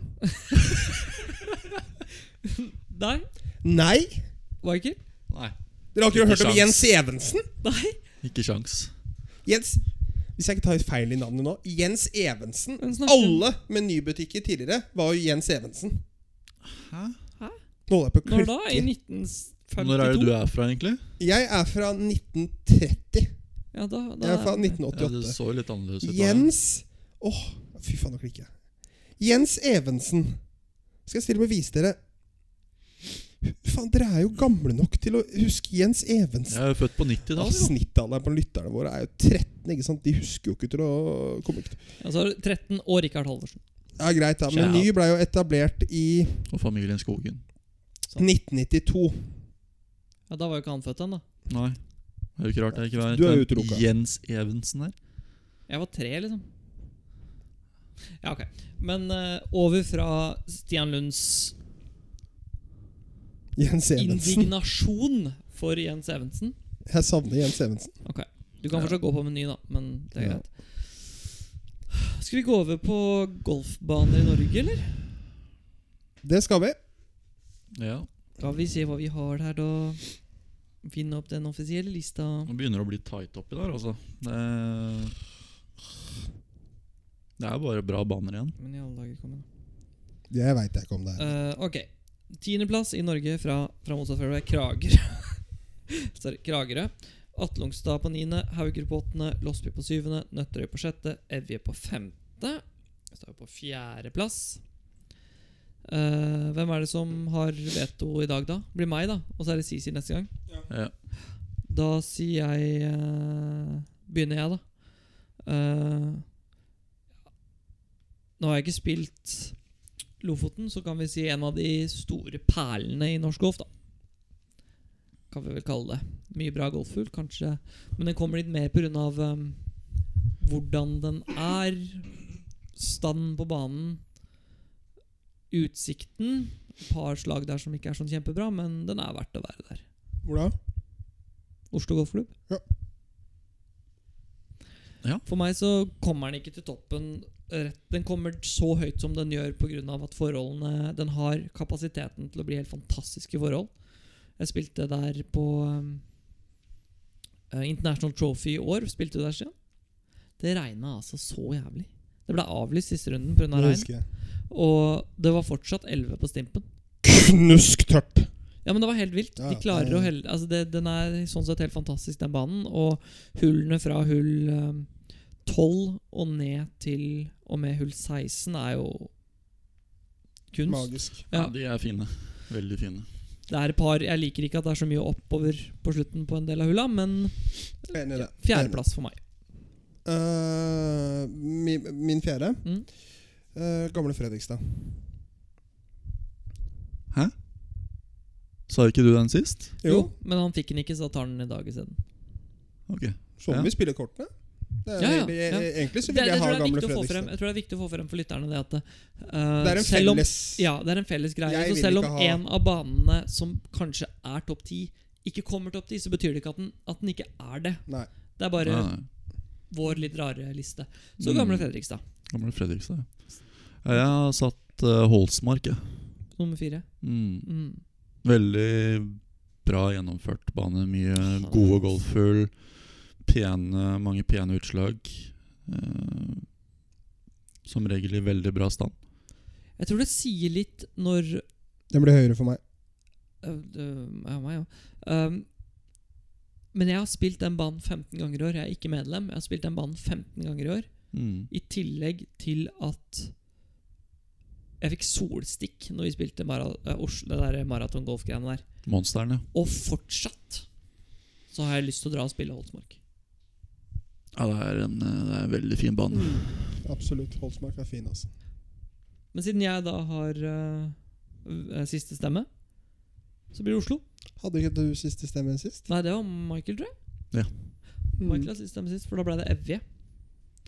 S2: Nei,
S1: Nei!
S2: Michael?
S3: Nei.
S1: Dere har ikke
S3: Ikke
S1: hørt om
S3: sjans.
S1: Jens Evensen?
S2: Nei.
S3: Ikke sjans.
S1: Jens Hvis jeg ikke tar feil i navnet nå Jens Evensen
S2: Hvem snakker du om?
S1: Alle menybutikker tidligere var jo Jens Evensen
S3: Hæ?
S1: Nå holder jeg på å
S2: Når da? I
S1: klikke
S2: 1952?
S3: Når er det du er fra, egentlig?
S1: Jeg er fra 1930
S2: Ja, da, da
S1: Jeg er fra
S3: Ja, det
S1: 1988
S3: så jo litt annerledes ut. da.
S1: Jens Åh, fy faen nå klikker jeg Jens Evensen Skal jeg stille meg og vise dere Faen, dere er jo gamle nok til å huske Jens Evensen
S3: Jeg er jo født på
S1: Ja,
S3: 90-tallet. jo.
S1: Snittalderen på lytterne våre er jo 13, ikke sant? De husker jo ikke til å komme ikke
S2: Ja, så er du 13 og Rikard Halvorsen.
S1: Ja, greit da Men
S3: Shout.
S1: ny ble jo etablert i
S3: Og familien Skogen. Sånn.
S1: 1992
S2: Ja, Da var jo ikke han født ennå.
S3: Nei. Det er jo ikke rart jeg ikke
S1: Du er
S3: vet hvem
S1: utelukka.
S3: Jens Evensen her.
S2: Jeg var tre, liksom. Ja, ok. Men eh, over fra Stian Lunds
S1: Jens Evensen.
S2: indignasjon for Jens Evensen
S1: Jeg savner Jens Evensen.
S2: Ok, Du kan
S3: Ja.
S2: fortsatt gå på meny, da, men det er
S1: Ja.
S2: greit. Skal vi gå over på golfbaner i Norge, eller?
S1: Det skal vi.
S3: Ja.
S2: Skal vi se hva vi har der, da? Finne opp den offisielle lista.
S3: Nå begynner det å bli tight oppi der, altså. Det, det er bare bra baner igjen.
S2: Men i alle dager kom den.
S1: Jeg veit jeg ikke om det her.
S2: Eh, ok. Tiendeplass i Norge fra, fra motsatt fairway. Kragerø. Sorry, Kragerø. Atlungstad på niende, Hauger på åttende, Losby på syvende, Nøtterøy på sjette, Evje på femte. Står på fjerdeplass. Uh, hvem er det som har veto i dag, da? Blir meg, da. Og så er det Sisi neste gang.
S3: Ja.
S2: Da sier jeg eh, Begynner jeg, da. Eh, nå har jeg ikke spilt Lofoten så kan vi si en av de store perlene i norsk golf, da. Kan vi vel kalle det. Mye bra golfhull, kanskje. Men den kommer litt mer pga. Um, hvordan den er, stand på banen, utsikten. Et par slag der som ikke er sånn kjempebra, men den er verdt å være der.
S1: Hvor da?
S2: Oslo Golfklubb.
S1: Ja.
S3: Ja.
S2: For meg så kommer den ikke til toppen. rett- Den kommer så høyt som den gjør pga. at forholdene Den har kapasiteten til å bli helt fantastiske forhold. Jeg spilte der på um, eh, International Trophy i år. Spilte du der siden? Det regna altså så jævlig. Det ble avlyst siste runden pga.
S1: Det
S2: regn.
S1: husker jeg.
S2: Og det var fortsatt 11 på stimpen.
S1: Knusktørt.
S2: Ja, men det var helt vilt.
S1: Ja,
S2: De klarer
S1: ja, ja.
S2: å helle altså det, Den er sånn sett helt fantastisk, den banen. Og hullene fra hull eh, 12 og ned til og med hull 16 er jo kunst.
S1: Magisk.
S3: Ja,
S2: Ja.
S3: de er fine. Veldig fine.
S2: Det er et par Jeg liker ikke at det er så mye oppover på slutten på en del av hulla, men
S1: Enig i det.
S2: fjerdeplass for meg.
S1: Eh, min, min fjerde.
S2: Mm.
S1: Eh, gamle Fredrikstad.
S3: Sa ikke du den sist?
S2: Jo. men han fikk den ikke, så da tar han den i dag isteden.
S3: Ok.
S1: Sånn
S3: Ja.
S1: vi spiller kortene. Det er
S2: Ja, ja,
S1: egentlig,
S2: ja.
S1: egentlig så vil
S2: Det, jeg
S1: jeg ha
S2: tror det er
S1: gamle
S2: viktig å få frem, eh,
S1: Fredrikstad.
S2: jeg tror det er viktig å få frem for lytterne det at eh,
S1: Det er en felles
S2: Ja, det er en felles greie.
S1: Jeg
S2: så
S1: vil
S2: selv
S1: ikke
S2: om
S1: ha-
S2: en av banene som kanskje er topp ti, ikke kommer topp ti, så betyr det ikke at den, at den ikke er det.
S1: Nei.
S2: Det er bare
S3: Nei, nei.
S2: vår litt rare liste. Så
S3: Mm.
S2: gamle Fredrikstad.
S3: Gamle Fredrikstad, ja. Ja, Jeg har satt eh, Holsmark, jeg.
S2: Nummer fire.
S3: Mm.
S2: Mm.
S3: Veldig bra gjennomført bane. Mye gode golfhull. Pene, mange pene utslag. Eh, som regel i veldig bra stand.
S2: Jeg tror det sier litt når
S1: Den blir høyere for meg.
S2: øh, øh, Ja, meg òg. Um, men jeg har spilt den banen 15 ganger i år. Jeg er ikke medlem. Jeg har spilt den banen 15 ganger i år.
S3: Mm.
S2: I tillegg til at jeg fikk solstikk når vi spilte mara eh, Oslo, det der maratongolfgreiene der.
S3: Monsteren, ja.
S2: Og fortsatt så har jeg lyst til å dra og spille Holsmark.
S3: ja det, er en, eh, det er en veldig fin
S1: Mm.
S3: bane.
S1: Absolutt. Holsmark er fin, altså.
S2: Men siden jeg da har eh, eh, siste stemme, så blir det Oslo.
S1: Hadde ikke du siste stemme sist?
S2: Nei, det var Michael, tror jeg. Michael har siste stemme sist, for da ble det Evje.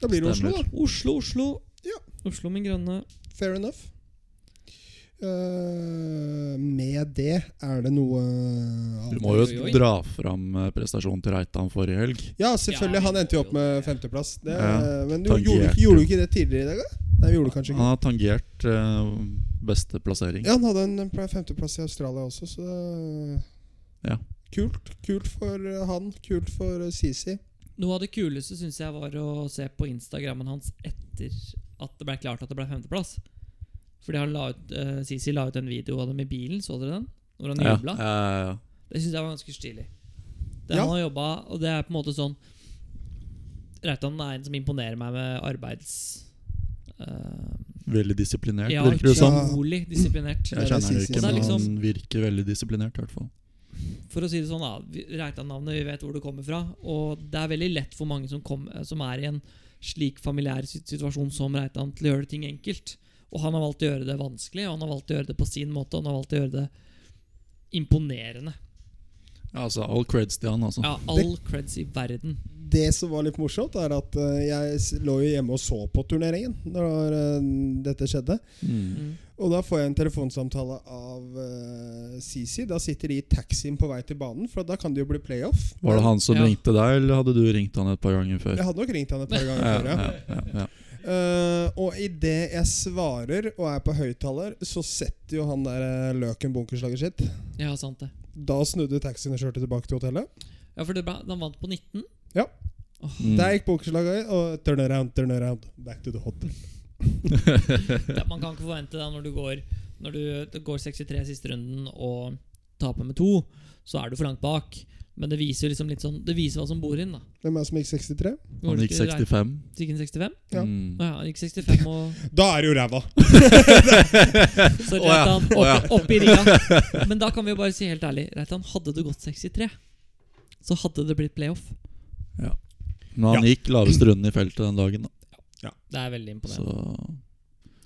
S1: Da blir det Mm. Oslo,
S3: Stemmer.
S1: da.
S2: Oslo, Oslo.
S1: Ja.
S2: Oslo, min grønne.
S1: Fair enough. Eh, med det er det noe
S3: Du
S1: annet.
S3: må
S2: Oi,
S3: jo
S2: oi, oi.
S3: dra fram eh, prestasjonen til Reitan forrige helg.
S1: Ja, selvfølgelig.
S2: Ja,
S1: han endte jo opp med
S2: det.
S1: femteplass. Det,
S3: Ja. Ah.
S1: Men du
S3: Tangert.
S1: gjorde, ikke- gjorde du ikke det tidligere i dag, da? Nei, vi gjorde det kanskje ikke.
S3: Han har tangert eh, beste plassering.
S1: Ja, han hadde en pla- femteplass i Australia også, så det-
S3: Ja.
S1: Kult. Kult for eh, han. Kult for eh, Sisi.
S2: Noe av det kuleste syns jeg var å se på Instagrammen hans etter at det ble klart at det ble femteplass. Fordi han la ut eh, Sisi la ut en video av dem i bilen, så dere den? Når han
S3: Ja,
S2: jubla.
S3: ja, ja, eh, ja.
S2: Det syns jeg var ganske stilig. Det
S1: Ja.
S2: han har jobba, og det er på en måte sånn Reitan er en som imponerer meg med arbeids... eh,
S3: Veldig disiplinert,
S2: ja,
S3: virker det som.
S1: Ja.
S2: utrolig disiplinert.
S3: Jeg
S1: det
S3: kjenner det liksom-
S1: synes
S3: ikke,
S2: jeg.
S3: men
S2: Det er
S3: han virker veldig disiplinert. i hvert fall
S2: For å si det sånn, da. vi- Reitan-navnet, vi vet hvor det kommer fra. Og det er veldig lett for mange som, kom, eh, som er i en slik familiær sit- situasjon som Reitan, til å gjøre ting enkelt. Og han har valgt å gjøre det vanskelig, og han har valgt å gjøre det på sin måte, og han har valgt å gjøre det imponerende.
S3: Ja, altså, All creds til han, altså.
S2: Ja, all creds i verden.
S1: Det som var litt morsomt, er at eh, jeg s- lå jo hjemme og så på turneringen når eh, dette skjedde.
S3: Mm.
S2: Mm.
S1: Og da får jeg en telefonsamtale av eh, Sisi. Da sitter de i taxien på vei til banen, for da kan det jo bli playoff.
S3: Var det han som
S2: Ja.
S3: ringte deg, eller hadde du ringt han et par ganger før?
S1: Jeg hadde nok ringt han et par ganger før, ja.
S3: ja, ja, ja.
S1: Eh, og idet jeg svarer og er på høyttaler, så setter jo han der eh, løken bunkerslaget sitt.
S2: Ja, sant det.
S1: Da snudde taxien og kjørte tilbake til hotellet.
S2: Ja, for det ble, Han vant på 19.
S3: Mm.
S1: Der gikk bunkerslaget, og turn around, turn around. Back to the hotel.
S2: Ja, man kan ikke forvente det når du går Når du det går 63 siste runden og taper med to, så er du for langt bak. Men det viser liksom litt sånn Det viser hva som bor inn, da.
S1: Hvem er det som gikk 63?
S3: Han gikk 65.
S2: Gikk han 65?
S1: Ja.
S3: Mm.
S2: Å ja, han gikk 65 og
S1: Da er det jo ræva!
S2: Så
S3: Å ja,
S2: Reitan
S3: å ja.
S2: opp, opp i ringa. Men da kan vi jo bare si helt ærlig, Reitan, hadde det gått 63, så hadde det blitt playoff.
S3: Men han gikk laveste runden i feltet den dagen, da.
S2: Det er veldig
S3: så
S2: imponerende.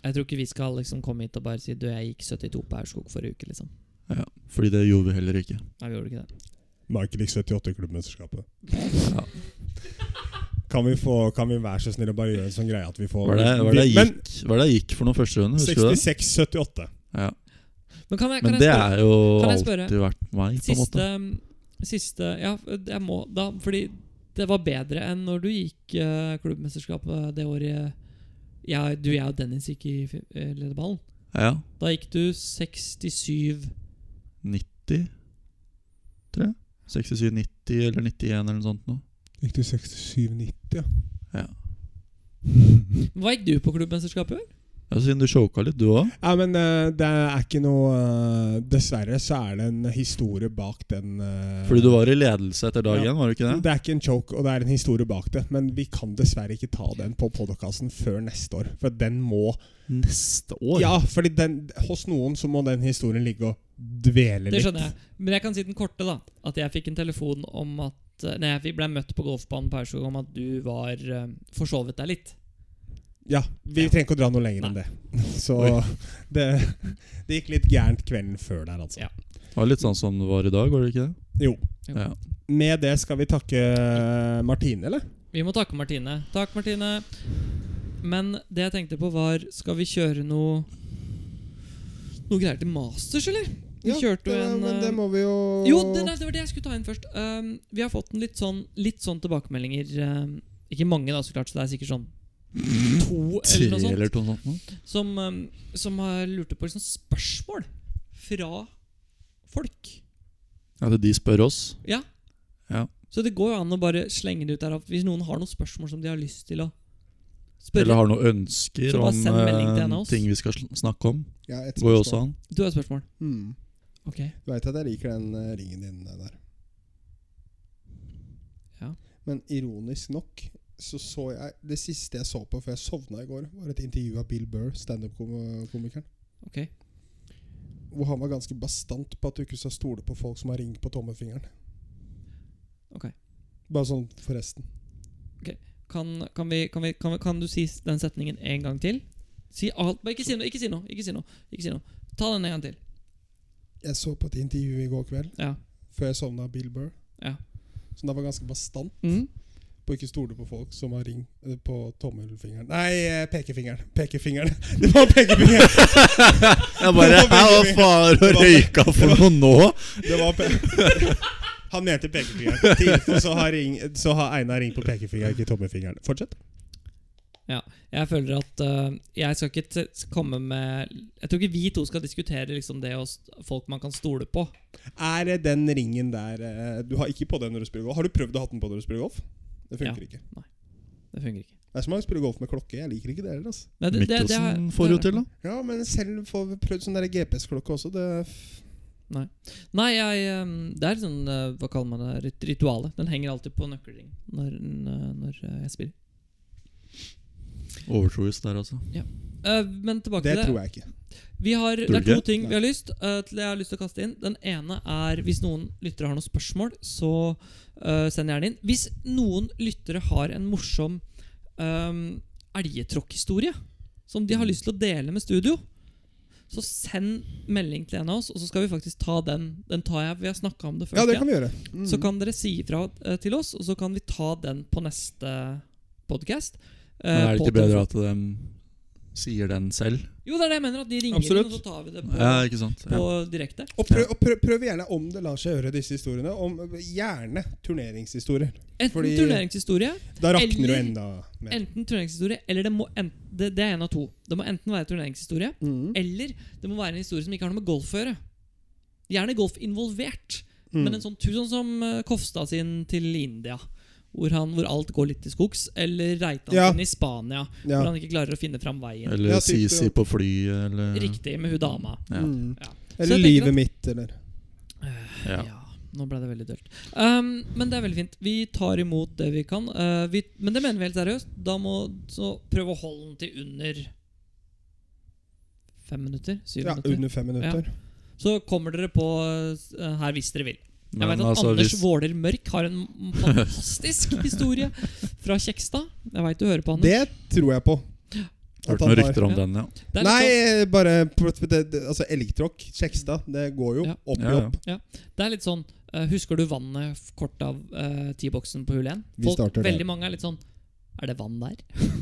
S2: Jeg tror ikke vi skal liksom komme hit og bare si Du, jeg gikk 72 på Aurskog forrige uke liksom
S3: Ja, fordi det gjorde vi heller ikke.
S2: Nei, vi gjorde ikke det
S1: Michael gikk 78 i klubbmesterskapet.
S3: Ja.
S1: Kan vi, få, kan vi være så snill og bare gjøre en sånn greie at vi får
S3: Hva er det, hva er det, jeg
S1: Men
S3: gikk, hva er det jeg gikk for noen første runde? Husker du det?
S1: 66-78.
S3: Ja.
S2: Men kan jeg, kan jeg
S3: Men det
S2: spørre
S3: er jo
S2: Kan jeg spørre?
S3: alltid vært meg, på en måte.
S2: Siste, siste Ja, jeg må da Fordi det var bedre enn når du gikk eh, klubbmesterskapet det året jeg, du, jeg og Dennis gikk i fi- eh, lederballen.
S3: Ja.
S2: Da gikk du 67
S3: 90 Tror jeg. 67-90 eller 91 eller noe sånt noe.
S1: Gikk du 67-90, ja?
S2: Hva gikk du på klubbmesterskapet i år?
S3: Ja, Siden du choka litt, du òg.
S1: Ja, men eh, det er ikke noe eh, Dessverre så er det en historie bak den eh,
S3: Fordi du var i ledelse etter dag
S1: Ja.
S3: én, var du ikke det?
S1: Det er ikke en joke, og det er en historie bak det. Men vi kan dessverre ikke ta den på podkasten før neste år. For den må
S3: Neste år?
S1: Ja, fordi den, hos noen så må den historien ligge og dvele litt.
S2: Det skjønner jeg. Men jeg kan si den korte, da. At jeg fikk en telefon om at eh, Nei, jeg ble møtt på golfbanen på Aurskog om at du var eh, forsovet deg litt.
S1: Ja, Vi
S2: Ja.
S1: trenger ikke å dra noe lenger enn
S2: Nei.
S1: det. Så det, det gikk litt gærent kvelden før der, altså.
S2: Ja.
S3: Det var litt sånn som det var i dag, var det ikke det?
S1: Jo.
S2: Jo.
S3: Ja.
S1: Med det skal vi takke eh, Martine, eller?
S2: Vi må takke Martine. Takk, Martine. Men det jeg tenkte på, var Skal vi kjøre noe Noe greier til Masters, eller? Vi kjørte jo en eh,
S1: må vi jo
S2: Jo, det, nei, det var det jeg skulle ta inn først. Um, vi har fått en litt sånn, litt sånn tilbakemeldinger. Um, ikke mange, da, så klart, så det er sikkert sånn to eller noe
S3: Tre
S2: sånt.
S3: eller noe sånt noe.
S2: Som, um, som har lurte på liksom spørsmål fra folk.
S3: Ja, det de spør oss.
S2: Ja.
S3: Ja.
S2: Så det går jo an å bare slenge det ut der. at Hvis noen har noen spørsmål som de har lyst til å spørre
S3: Eller har noen ønsker
S2: Så bare
S3: om
S2: send melding til
S3: eh,
S2: en av oss.
S3: ting vi skal sl- snakke om.
S6: Ja, et
S3: Går jo også
S6: spørsmål.
S3: an.
S2: Du har et spørsmål.
S6: Hmm.
S2: Ok.
S6: Du veit at jeg liker den eh, ringen din eh, der.
S2: Ja.
S6: Men ironisk nok så så jeg Det siste jeg så på før jeg sovna i går, var et intervju av Bill Burr, standup-komikeren.
S2: ok
S6: Hvor han var ganske bastant på at du ikke skal stole på folk som har ring på tommelfingeren.
S2: Ok.
S6: Bare sånn forresten.
S2: Kan, kan, vi, kan, vi, kan, vi, kan du si s- den setningen en gang til? Si alt, bare ikke si noe, ikke si noe. Ikke si noe, ikke si noe. Ta den en gang til.
S6: Jeg så på et intervju i går kveld,
S2: Ja.
S6: før jeg sovna av Bill Burr,
S2: Ja.
S6: som da var ganske bastant
S2: Mm.
S6: på å ikke stole på folk som har ring eh, på tommelfingeren Nei, eh, pekefingeren. Pekefingeren. Det var pekefingeren!
S3: Jeg bare Hæ, hva faen har røyka for noe nå?
S1: Det var pe Han mente pekefingeren. Til info så har, ring, så har Einar ring på pekefingeren, ikke tommefingeren. Fortsett.
S2: Jeg føler at øh, Jeg skal ikke t komme med Jeg tror ikke vi to skal diskutere liksom det hos folk man kan stole på.
S1: Er det den ringen der eh, Du har ikke på den når du spiller golf? Har du prøvd å ha den på når du spiller golf? Det funker ikke.
S2: Det fungerer ikke.
S1: Det er så mange som spiller golf med klokke. Jeg liker ikke det heller. Altså.
S2: Nei, det- det- det har-
S3: Mikkelsen får jo til, da.
S6: Ja, men selv får vi prøvd sånn der GPS-klokke også. Det er f-
S2: Nei, jeg, øhm, det er sånn øh, Hva kaller man det? Rit ritualet. Den henger alltid på nøkkelringen når, når, når øh, jeg spiller.
S3: Overtroisk der, altså.
S2: Øh, men tilbake
S1: Det
S2: til det.
S1: tror jeg ikke.
S2: Vi har, det
S3: Tror
S2: er
S3: du
S2: to
S3: ikke?
S2: ting
S6: Nei.
S2: vi har lyst eh, til jeg har lyst til å kaste inn. Den ene er hvis noen lyttere har noen spørsmål, så eh, send gjerne inn. Hvis noen lyttere har en morsom um, elgetråkkhistorie som de
S3: Mm.
S2: har lyst til å dele med studio, så send melding til en av oss, og så skal vi faktisk ta den. Den tar jeg. Vi har snakka om det først.
S6: Ja, det
S2: igjen.
S6: kan vi gjøre. Mm.
S2: Så kan dere si ifra eh, til oss, og så kan vi ta den på neste podkast. Eh,
S3: Men er det ikke bedre at de sier den selv?
S2: Jo, det er det jeg mener. At de ringer
S1: Absolutt.
S2: inn, og så tar vi det på,
S3: Ja, ikke sant?
S2: på
S3: Ja.
S2: direkte.
S6: Og, prøv, og prøv, prøv gjerne om det lar seg gjøre, disse historiene. Om, gjerne turneringshistorier.
S2: Enten
S6: Fordi-
S2: turneringshistorie
S1: Da rakner du
S2: Eller-
S1: enda mer.
S2: Enten turneringshistorie Eller det må enten, det, det er en av to Det må enten være turneringshistorie
S6: Mm.
S2: Eller det må være en historie som ikke har noe med golf å gjøre Gjerne golf involvert
S6: Mm.
S2: Men en sånn tur sånn som eh, Kofstad sin til India hvor, han, hvor alt går litt til skogs Eller Reitan
S6: Ja.
S2: sin i Spania
S6: Ja.
S2: Hvor han ikke klarer å finne fram veien
S6: Ja,
S3: Eller
S6: typ, ja.
S3: CC på flyet, eller
S2: Riktig med hun dama
S3: Ja.
S6: Mm.
S2: Ja. Så
S6: Eller
S2: jeg tenker
S6: livet
S2: at-
S6: mitt, eller
S3: Ja.
S2: Ja. Nå ble det veldig dølt. Um, men det er veldig fint. Vi tar imot det vi kan. Uh, vi, men det mener vi helt seriøst. Da må så prøve å holde den til under fem minutter? Syv
S6: ja,
S2: minutter?
S6: under fem minutter.
S2: Så kommer dere på uh, her hvis dere vil. Jeg
S3: Men
S2: vet at
S3: altså,
S2: Anders
S3: hvis-
S2: Våler Mørk har en fantastisk historie fra Kjekstad. Jeg veit du hører på, Anders.
S6: Det tror jeg på.
S1: At
S3: Hørt
S1: han
S3: noen
S1: var-
S3: rykter om
S2: Ja.
S3: den, ja.
S2: Det er litt sånn-
S1: Nei, bare på- det, det, Altså, elgtråkk, Kjekstad, det går jo
S2: Ja.
S1: opp i
S3: Ja, ja.
S1: opp.
S2: Det er litt sånn eh, Husker du vannet f- kort av eh, T-boksen på hull 1?
S1: Vi starter der.
S2: veldig mange er litt sånn Er det vann der?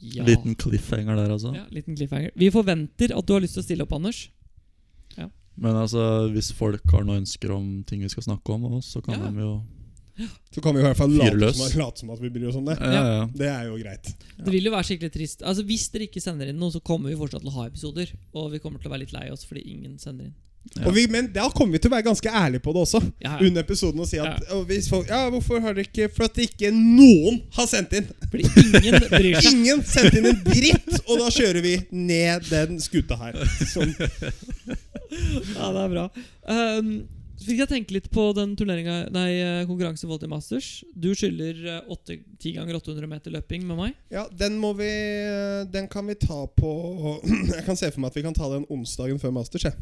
S2: ja.
S3: Liten cliffhanger der, altså.
S2: ja. Liten cliffhanger. Vi forventer at du har lyst til å stille opp, Anders.
S3: Men altså, hvis folk har noen ønsker om ting vi skal snakke om, også, så kan
S2: Ja.
S3: de jo
S1: Så kan vi i hvert fall late
S3: Fyr løs.
S1: som, late som at vi bryr oss om det.
S3: ja, ja.
S1: Det er jo greit.
S2: Det vil jo være skikkelig trist. Altså Hvis dere ikke sender inn noe, så kommer vi fortsatt til å ha episoder. Og vi kommer til å være litt lei oss fordi ingen sender inn.
S3: Ja.
S1: Og vi, men da kommer vi til å være ganske ærlige på det også.
S2: Ja, ja.
S1: Under episoden og si at og hvis folk, Ja, hvorfor har dere ikke For at ikke noen har sendt inn!
S2: Fordi ingen bryr seg.
S1: Ingen sendte inn en dritt! Og da kjører vi ned den skuta her. Som,
S2: Ja, det er bra. Um, så fikk jeg tenke litt på den turneringen, nei, eh, konkurransen i Volty Masters. Du skylder eh, åtte- 10 ganger 800 meter løping med meg.
S1: ja, den må vi Den kan vi ta på Jeg kan se for meg at vi kan ta den onsdagen før Masters. jeg.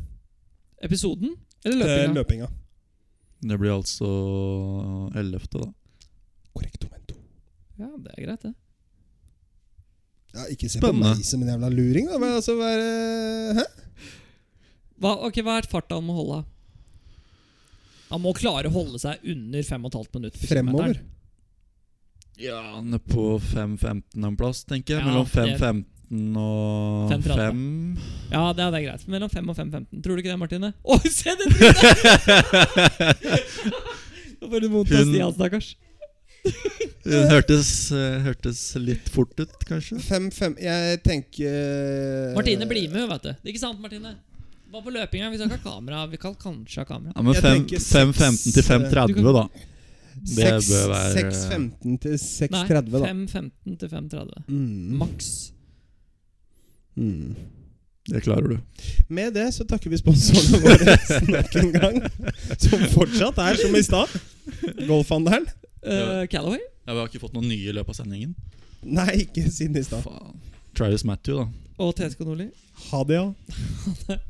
S2: Episoden? Eller
S1: Eh,
S2: løpinga?
S1: Løpinga.
S3: Det blir altså 11., da.
S1: Korrekt momento.
S2: Ja, det er greit, det.
S1: Ja, ikke se
S3: Spennende.
S1: på meg som en jævla luring, da. Men altså være Hæ?
S2: Hva, ok, hva er farta han må holde? Han må klare å holde seg under 5,5 minutter. på
S1: Fremover.
S2: kilometeren.
S3: Ja, han er på 5.15 en plass, tenker jeg.
S2: Ja,
S3: Mellom
S2: det-
S3: 5.15 og
S2: 5.30.
S3: 5.
S2: Ja, det er, det er greit. Mellom 5 og 5,15. Tror du ikke det, Martine? Oi, se det trynet! Nå får du vondt av
S3: Hun-
S2: Stian, stakkars.
S3: Det hørtes, eh, hørtes litt fort ut, kanskje.
S1: Fem, fem Jeg tenker eh,
S2: Martine blir med, vet du. Ikke sant, Martine? Bare på løpinga. Vi skal ikke ha kamera. Vi kan kanskje ha kamera.
S3: Ja, men
S1: Jeg
S3: fem-
S1: tenker seks-
S3: 5.15 til 5.30, da. Det
S1: Seks-
S3: bør være
S1: 6.15 til
S2: Nei,
S1: 6.30, da.
S2: 5.15 til 5.30.
S1: Mm.
S2: Maks.
S1: Mm.
S3: Det klarer du.
S1: Med det så takker vi sponsorene våre nok en gang. Som fortsatt er som i stad. Golfhandelen.
S2: Uh, Callaway?
S3: Ja, vi har ikke fått noen nye i løpet av sendingen.
S1: Nei, ikke siden i stad.
S3: Faen. Travis Matthew, da.
S2: Og TSK Nordli?
S1: Ha det, ja.